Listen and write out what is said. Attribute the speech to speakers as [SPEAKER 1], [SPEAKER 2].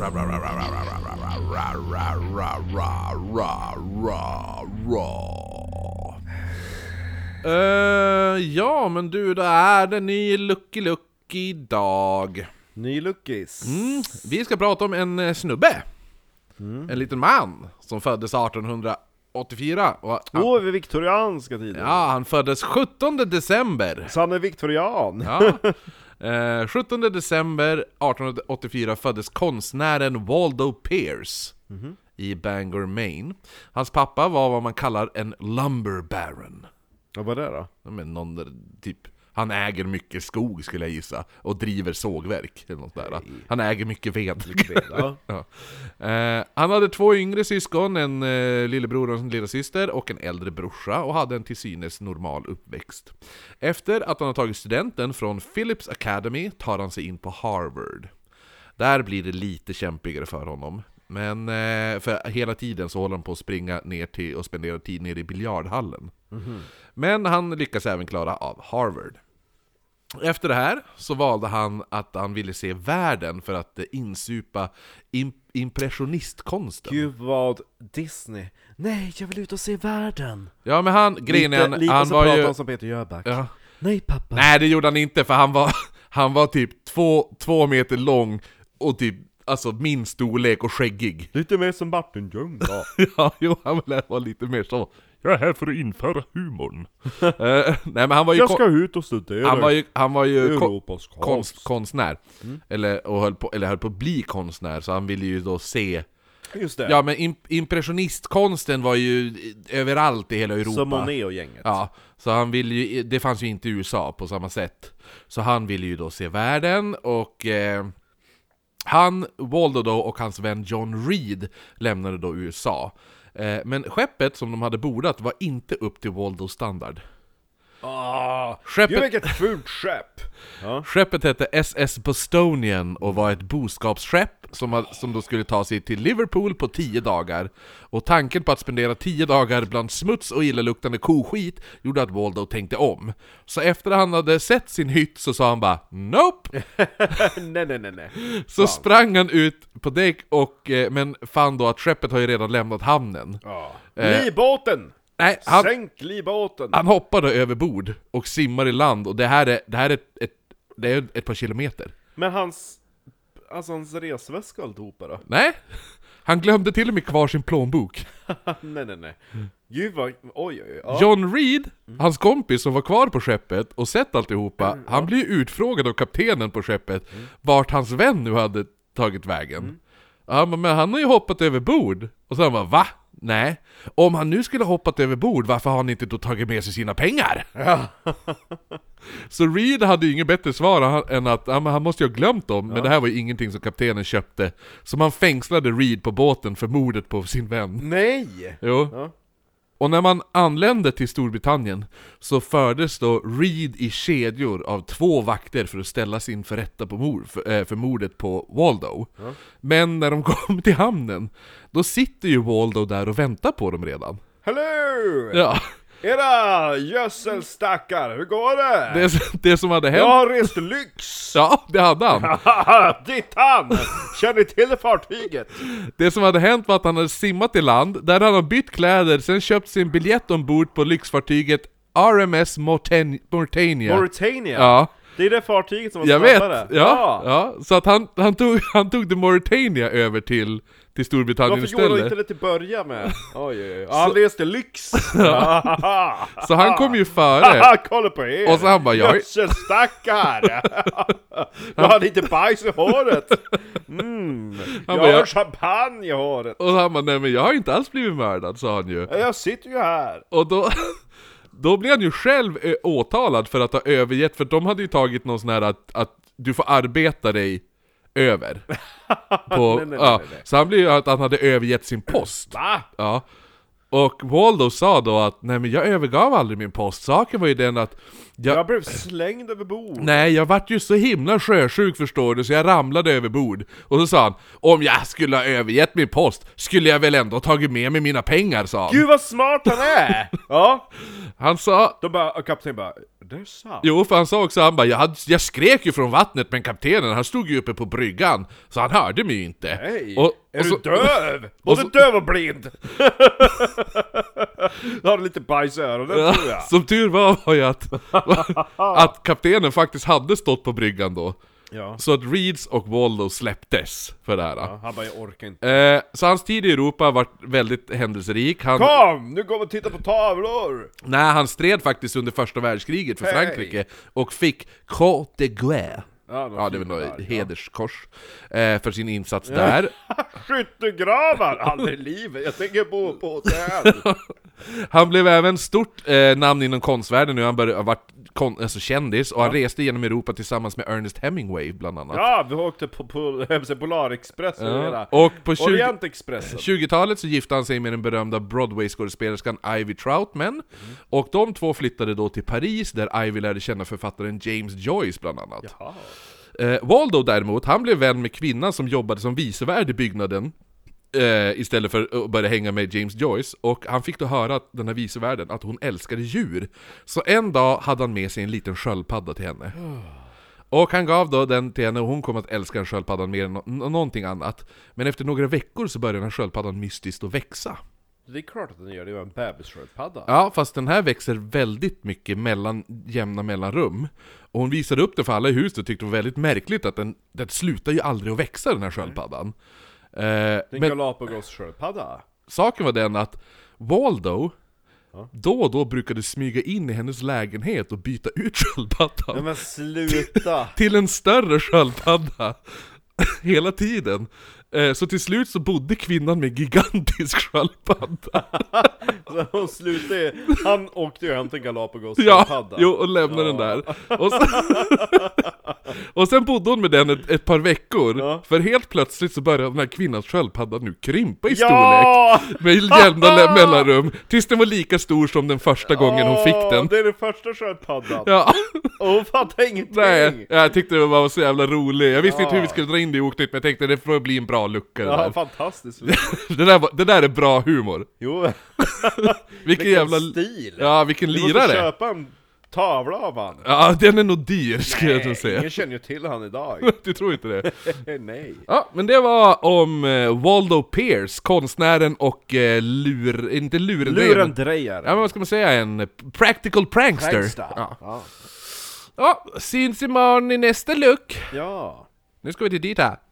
[SPEAKER 1] Ra, ra, ra, ra, ra, ra, ra, ra, ra, ra, ra, ra, ra, ra, ra. Eh, ja, men du, då är det ny Lucky Lucky idag.
[SPEAKER 2] Ny Luckis.
[SPEAKER 1] Mm. Vi ska prata om en eh, snubbe. En liten man som föddes 1884. Och, han,
[SPEAKER 2] Åh, vi är viktorianska tider.
[SPEAKER 1] ja, han föddes 17 december.
[SPEAKER 2] Så han är viktorian.
[SPEAKER 1] Ja. Eh, 17 december 1884 föddes konstnären Waldo Pierce i Bangor, Maine. Hans pappa var vad man kallar en lumber baron.
[SPEAKER 2] Ja, vad är det då?
[SPEAKER 1] Ja, Men någon där, typ, han äger mycket skog skulle jag gissa, och driver sågverk eller något där. Han äger mycket ved.
[SPEAKER 2] Ja.
[SPEAKER 1] Ja. Eh, han hade två yngre syskon, en eh, lillebror och en lillasyster och en äldre brorsa och hade en till synes normal uppväxt. Efter att han har tagit studenten från Phillips Academy tar han sig in på Harvard. Där blir det lite kämpigare för honom. Men eh, för hela tiden så håller han på att springa ner till och spendera tid nere i biljardhallen. Men han lyckas även klara av Harvard. Efter det här så valde han att han ville se världen för att eh, insupa im- impressionistkonsten.
[SPEAKER 2] Gud vad Disney. Nej, jag vill ut och se världen.
[SPEAKER 1] Ja men han, grejen är,
[SPEAKER 2] lite,
[SPEAKER 1] han-
[SPEAKER 2] lite
[SPEAKER 1] han
[SPEAKER 2] så
[SPEAKER 1] var
[SPEAKER 2] pratar
[SPEAKER 1] ju...
[SPEAKER 2] han som Peter Jöback.
[SPEAKER 1] Ja.
[SPEAKER 2] Nej pappa.
[SPEAKER 1] Nej det gjorde han inte för han var, han var typ två, två meter lång och typ Alltså min storlek och skäggig.
[SPEAKER 2] Lite mer som Martin Ljungdahl.
[SPEAKER 1] Ja, jo, han lät vara lite mer så. Jag är här för att införa humorn. Eh, nej men han var ju, kon-
[SPEAKER 2] ut och studera.
[SPEAKER 1] han var ju, han var ju kon-
[SPEAKER 2] Europas konst. Mm.
[SPEAKER 1] konst, konstnär. Eller, och höll på, eller höll på att bli konstnär, så han ville ju då se
[SPEAKER 2] Just det.
[SPEAKER 1] Ja men imp- impressionistkonsten var ju i- överallt i hela Europa.
[SPEAKER 2] som Monet och gänget.
[SPEAKER 1] Ja, så han ville ju, det fanns ju inte i USA på samma sätt. Så han ville ju då se världen och eh, han, Waldo då och hans vän John Reed lämnade då USA. Eh, men skeppet som de hade bordat var inte upp till Waldos standard.
[SPEAKER 2] Ah,
[SPEAKER 1] Skeppet-
[SPEAKER 2] Gud vilket fult skepp! Ja.
[SPEAKER 1] Skeppet hette SS Bostonian och var ett boskapsskepp som, hade- som då skulle ta sig till Liverpool på 10 dagar. Och tanken på att spendera 10 dagar bland smuts och illaluktande koskit gjorde att Waldo tänkte om. Så efter han hade sett sin hytt så sa han bara ”Nope!”
[SPEAKER 2] nej nej nej nej.
[SPEAKER 1] Så sprang han ut på däck och, eh, men fann då att skeppet har ju redan lämnat hamnen.
[SPEAKER 2] Ja. Livbåten!
[SPEAKER 1] Nej, Eh. han,
[SPEAKER 2] Sänk livbåten!
[SPEAKER 1] han hoppade över bord och simmar i land och det här är, det här är, ett, ett, det är ett par kilometer.
[SPEAKER 2] Men hans... Alltså hans resväska och alltihopa då?
[SPEAKER 1] Nej, han glömde till och med kvar sin plånbok.
[SPEAKER 2] nej nej nej. Gud vad... Oj oj oj. Ja.
[SPEAKER 1] John Reed, hans kompis som var kvar på skeppet och sett alltihopa, han blir ju utfrågad av kaptenen på skeppet vart hans vän nu hade tagit vägen. Han bara, men han har ju hoppat över bord. Och så han bara, va? Nej. Om han nu skulle ha hoppat över bord, varför har han inte då tagit med sig sina pengar? så Reed hade ju inget bättre svar han- än att ja, men han måste ju ha glömt dem, men det här var ju ingenting som kaptenen köpte. Så man fängslade Reed på båten för mordet på sin vän.
[SPEAKER 2] Nej!
[SPEAKER 1] Jo.
[SPEAKER 2] Ja.
[SPEAKER 1] Och när man anlände till Storbritannien så fördes då Reed i kedjor av två vakter för att ställas inför rätta på mor, för, eh, för mordet på Waldo. Men när de kom till hamnen, då sitter ju Waldo där och väntar på dem redan.
[SPEAKER 2] Hello!
[SPEAKER 1] Ja,
[SPEAKER 2] Era gödselstackar, hur går det?
[SPEAKER 1] det, det som hade
[SPEAKER 2] Jag
[SPEAKER 1] hänt...
[SPEAKER 2] har rest lyx!
[SPEAKER 1] Ja, det hade han.
[SPEAKER 2] Dittan! Känner ni till fartyget?
[SPEAKER 1] Det som hade hänt var att han hade simmat i land, där hade han bytt kläder, sen köpt sin biljett ombord på lyxfartyget RMS Morten- Mauritania.
[SPEAKER 2] Mauritania?
[SPEAKER 1] Ja.
[SPEAKER 2] Det är det fartyget som var
[SPEAKER 1] Jag vet! Ja,
[SPEAKER 2] snabbare.
[SPEAKER 1] ja. Så att han, han, tog, han tog The Mauritania över till, till Storbritannien
[SPEAKER 2] Varför gjorde
[SPEAKER 1] istället.
[SPEAKER 2] han inte det till börja med? Oj, oj, oj. Ja, Han reste lyx! Haha!
[SPEAKER 1] Så han
[SPEAKER 2] Ah.
[SPEAKER 1] kom ju före.
[SPEAKER 2] Kolla på er!
[SPEAKER 1] Och så han bara, jag är-
[SPEAKER 2] Gödselstackar! Jag har lite bajs i håret! Mm. Jag
[SPEAKER 1] bara,
[SPEAKER 2] har
[SPEAKER 1] jag-
[SPEAKER 2] champagne i håret!
[SPEAKER 1] Och han bara, nej men jag har inte alls blivit mördad, sa han ju.
[SPEAKER 2] Jag sitter ju här!
[SPEAKER 1] Och då, då blev han ju själv eh, åtalad för att ha övergett, för de hade ju tagit någon sån här att, att du får arbeta dig över. På,
[SPEAKER 2] nej, nej,
[SPEAKER 1] ja.
[SPEAKER 2] nej, nej.
[SPEAKER 1] Så han blev ju att han hade övergett sin post.
[SPEAKER 2] Va?
[SPEAKER 1] Ja. Och Waldo sa då att nej men jag övergav aldrig min post, saken var ju den att jag,
[SPEAKER 2] Jag blev slängd över bord.
[SPEAKER 1] Nej, jag vart ju så himla sjösjuk förstår du, så jag ramlade över bord. Och så sa han, om jag skulle ha övergett min post, skulle jag väl ändå ha tagit med mig mina pengar, sa han.
[SPEAKER 2] Gud vad smart han är! ja,
[SPEAKER 1] Han sa,
[SPEAKER 2] de bara, och kaptenen bara, det är sant.
[SPEAKER 1] jo för han sa också, han bara, jag, hade, jag skrek ju från vattnet men kaptenen han stod ju uppe på bryggan, så han hörde mig ju inte.
[SPEAKER 2] Hej!
[SPEAKER 1] Och-
[SPEAKER 2] är
[SPEAKER 1] och så-
[SPEAKER 2] du döv? Både
[SPEAKER 1] och så-
[SPEAKER 2] döv och blind! du har lite bajs i öronen
[SPEAKER 1] Ja,
[SPEAKER 2] tror jag.
[SPEAKER 1] Som tur var var ju att, att kaptenen faktiskt hade stått på bryggan då.
[SPEAKER 2] Ja.
[SPEAKER 1] Så att Reeds och Waldo släpptes för det här.
[SPEAKER 2] Ja, Han bara, jag orkar inte.
[SPEAKER 1] Eh, så hans tid i Europa var väldigt händelserik. Han,
[SPEAKER 2] Kom! Nu går vi och tittar på tavlor!
[SPEAKER 1] nej, han stred faktiskt under första världskriget för
[SPEAKER 2] Hej.
[SPEAKER 1] Frankrike och fick Croix de Guerre.
[SPEAKER 2] Ja, de
[SPEAKER 1] Ja, det var
[SPEAKER 2] fick
[SPEAKER 1] något
[SPEAKER 2] där,
[SPEAKER 1] hederskors eh, för sin insats där.
[SPEAKER 2] Skyttegravar! Aldrig i livet! Jag tänker bo på hotell!
[SPEAKER 1] Han blev även stort eh, namn inom konstvärlden nu, han började, har varit kon, alltså, kändis och han reste genom Europa tillsammans med Ernest Hemingway bland annat.
[SPEAKER 2] Ja, vi åkte på, på, på Polarexpressen och hela...
[SPEAKER 1] Och på 20
[SPEAKER 2] Orientexpressen.
[SPEAKER 1] 20-talet så gifte han sig med den berömda Broadway-skådespelerskan Ivy Troutman
[SPEAKER 2] Mm.
[SPEAKER 1] Och de två flyttade då till Paris där Ivy lärde känna författaren James Joyce bland annat
[SPEAKER 2] Ja.
[SPEAKER 1] eh, Waldo däremot, han blev vän med kvinnan som jobbade som vicevärd i byggnaden eh, Istället för att börja hänga med James Joyce Och han fick då höra, att den här vicevärden, att hon älskade djur Så en dag hade han med sig en liten sköldpadda till henne och han gav då den till henne och hon kom att älska den sköldpaddan mer än nå- någonting annat. Men efter några veckor så började den här sköldpaddan mystiskt att växa.
[SPEAKER 2] Det är klart att den gör det, det var en bebissköldpadda.
[SPEAKER 1] Ja, fast den här växer väldigt mycket mellan jämna mellanrum. Och hon visade upp det för alla i huset och tyckte det var väldigt märkligt att den, den slutar ju aldrig att växa den här sköldpaddan. Eh,
[SPEAKER 2] Det är en
[SPEAKER 1] men
[SPEAKER 2] Galapagos-sköldpadda.
[SPEAKER 1] saken var den att Waldo
[SPEAKER 2] Ja.
[SPEAKER 1] då och då brukade smyga in i hennes lägenhet och byta ut sköldpaddan.
[SPEAKER 2] Nej men sluta!
[SPEAKER 1] till en större sköldpadda hela tiden. Eh, Så till slut så bodde kvinnan med en gigantisk sköldpadda.
[SPEAKER 2] Så hon slutade, han åkte ju hem till Galapagos
[SPEAKER 1] Ja,
[SPEAKER 2] sköldpadda.
[SPEAKER 1] jo, och lämnade den där. Och sen, och sen bodde hon med den ett, ett par veckor,
[SPEAKER 2] Ja.
[SPEAKER 1] för helt plötsligt så började den här kvinnans sköldpadda nu krympa i storlek.
[SPEAKER 2] Ja!
[SPEAKER 1] Med jämna le- mellanrum, tills den var lika stor som den första gången hon fick den.
[SPEAKER 2] Det är den första sköldpaddan.
[SPEAKER 1] Ja,
[SPEAKER 2] Och hon fattar ingenting.
[SPEAKER 1] nej, jag tyckte det var så jävla roligt. Jag visste inte hur vi
[SPEAKER 2] Ja.
[SPEAKER 1] skulle dra in det i oknytt, men jag tänkte det får bli en bra lucka det
[SPEAKER 2] Ja,
[SPEAKER 1] där.
[SPEAKER 2] fantastiskt.
[SPEAKER 1] det, där var, det där är bra humor.
[SPEAKER 2] Jo,
[SPEAKER 1] Vilken
[SPEAKER 2] vilken
[SPEAKER 1] jävla...
[SPEAKER 2] stil.
[SPEAKER 1] Ja, vilken
[SPEAKER 2] Du måste
[SPEAKER 1] lirare!
[SPEAKER 2] köpa en tavla av han.
[SPEAKER 1] Ja, den är nog dyr skulle jag nog säga.
[SPEAKER 2] ingen känner ju till han idag.
[SPEAKER 1] Du tror inte det?
[SPEAKER 2] nej.
[SPEAKER 1] Ja, men det var om eh, Waldo Pierce, konstnären och eh, lur... Inte lurendrejaren.
[SPEAKER 2] Lurendrejare.
[SPEAKER 1] Ja, men vad ska man säga? En practical prankster.
[SPEAKER 2] Prankster.
[SPEAKER 1] Ja.
[SPEAKER 2] Ja.
[SPEAKER 1] ja, syns imorgon i nästa look.
[SPEAKER 2] ja.
[SPEAKER 1] Nu ska vi till dit här.